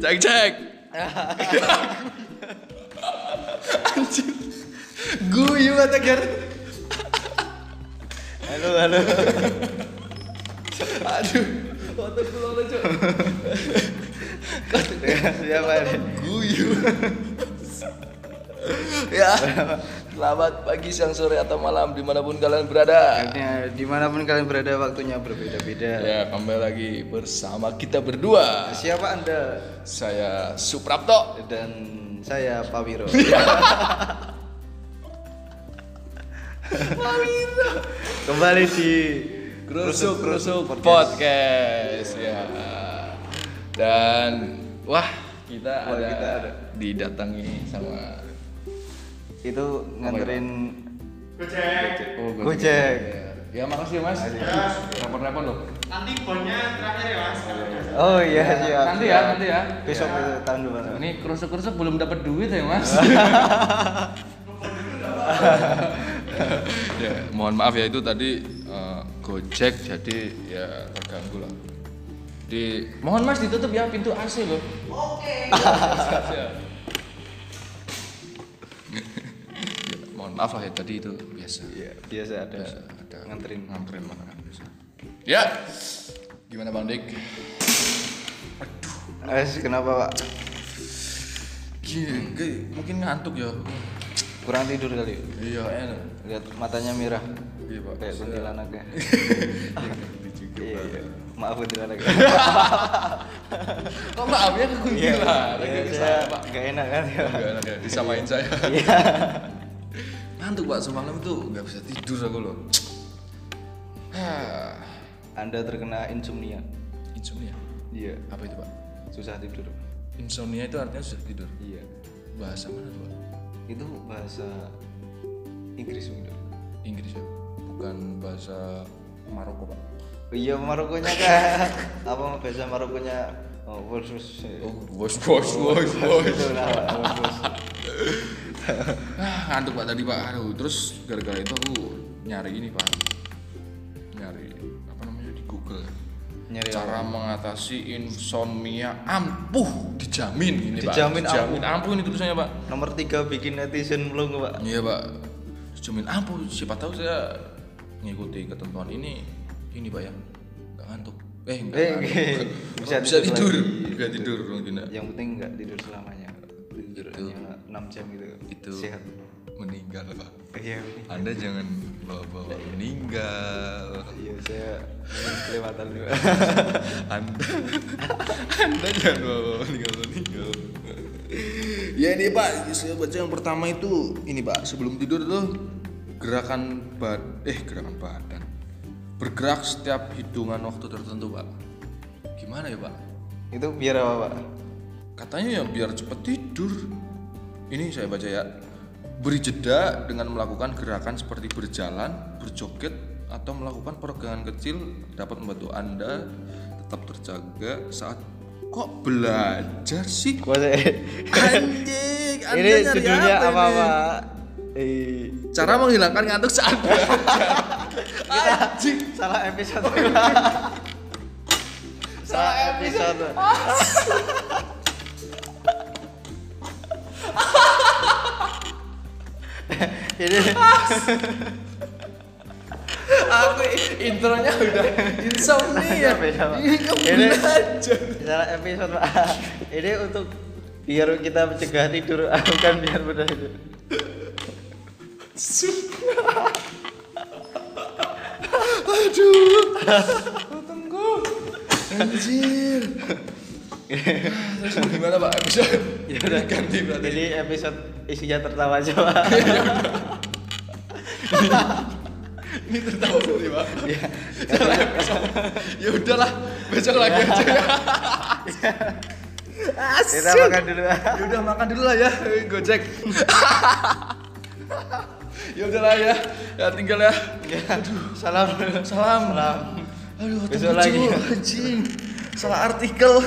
Cek cek. Anjir. Guyu kata Gar. Halo, halo. Aduh. Otak gue lama cok. Siapa ini? Guyu. ya. Selamat pagi, siang, sore atau malam dimanapun kalian berada. Akhirnya dimanapun kalian berada waktunya berbeda-beda. Ya kembali lagi bersama kita berdua. Siapa anda? Saya Suprapto. Dan saya Pak Wiro. Kembali di Krusuk Krusuk Podcast. Ya. Dan wah kita Wah, ada, kita ada. didatangi sama itu nganterin oh, Gojek. Gojek. Ya makasih mas. Repot-repot loh. Nanti bonnya terakhir ya mas. Oh iya siap. Nanti ya, nanti ya. Besok eh, tahun depan. Ini kerusuk-kerusuk belum dapat duit ya mas. ya, mohon maaf ya itu tadi eh, Gojek jadi ya terganggu lah. Di Mohon mas ditutup ya pintu AC loh. ya, mohon maaf lah ya tadi itu biasa. Iya biasa ada. ada Nganterin. nganterin makanan biasa. Ya. Gimana Bang Dik? Eh kenapa pak? Gini, gue mungkin ngantuk ya. Kurang tidur kali. ya? Iya, enak. Lihat matanya merah. Iya, Pak. Kayak kuntilanaknya. Iya. iya. Maaf kuntilanak. Kok ya, maafnya ke kuntilanak? Iya, Ke saya saya, Pak. nggak enak kan ya. Enggak enak ya, disamain saya. Ngantuk, Pak. Semalam itu nggak bisa tidur aku loh. Hah. Anda terkena insomnia. Insomnia. Iya. Apa itu, Pak? Susah tidur. Insomnia itu artinya susah tidur. Iya. Bahasa mana tuh, Pak? Itu bahasa Inggris gitu. Inggris ya? Bukan bahasa Maroko, Pak. Oh, iya Marokonya kan. Apa bahasa Marokonya? Oh, versus. Oh, bos, bos, bos, bos. Itu lah, Pak. Versus. Ah, ngantuk pak tadi pak aduh terus gara-gara itu aku nyari ini pak nyari apa namanya di Google Nyari cara mengatasi insomnia ampuh dijamin ini pak Dijamin dijamin ampuh ini tulisannya pak Nomor tiga bikin netizen melongo Pak. iya pak dijamin ampuh siapa tahu saya ngikuti ketentuan ini ini pak ya nggak ngantuk eh nggak Eh, ngantuk. bisa bisa, tidur tidur, lagi. bisa tidur mungkin ya. Yang penting nggak tidur selamanya. Nah. Tidur Itu. hanya 6 jam gitu. itu sehat. meninggal pak Iya. anda jangan bawa-bawa meninggal Iya, saya kelewatan juga. Anda Anda jangan bawa meninggal meninggal. Ya ini Pak, saya baca yang pertama itu ini Pak, sebelum tidur tuh gerakan bad eh gerakan badan. Bergerak setiap hitungan waktu tertentu, Pak. Gimana ya, Pak? Itu biar apa, Pak? Katanya ya biar cepet tidur. Ini saya baca ya. Beri jeda dengan melakukan gerakan seperti berjalan, berjoget, atau melakukan peregangan kecil dapat membantu Anda tetap terjaga saat kok belajar sih? Kuasa. Anjing, Anda Ini nyari judulnya apa apa, ini? Pak? Eh, Cara menghilangkan ngantuk saat belajar. Anjing. salah episode. salah episode. Ini Aku intronya udah insomnia. Beda, ya, Pak. Ini kok Ini- belajar. salah episode, Pak. Ini untuk biar kita mencegah tidur, bukan biar mudah tidur. Anjir. Terus gimana Pak episode? Ya udah ganti berarti. Jadi episode isinya tertawa aja, Pak. Ini tertawa sendiri Pak. Salah episode. Ya udahlah, besok lagi aja. ya. Kita makan dulu, Pak. Ya udah makan dulu lah ya, Gojek. ya udahlah ya. Ya tinggal ya. Salam. Salam. Salam. Aduh, Besok besok lagi. lagi anjing. Salah artikel.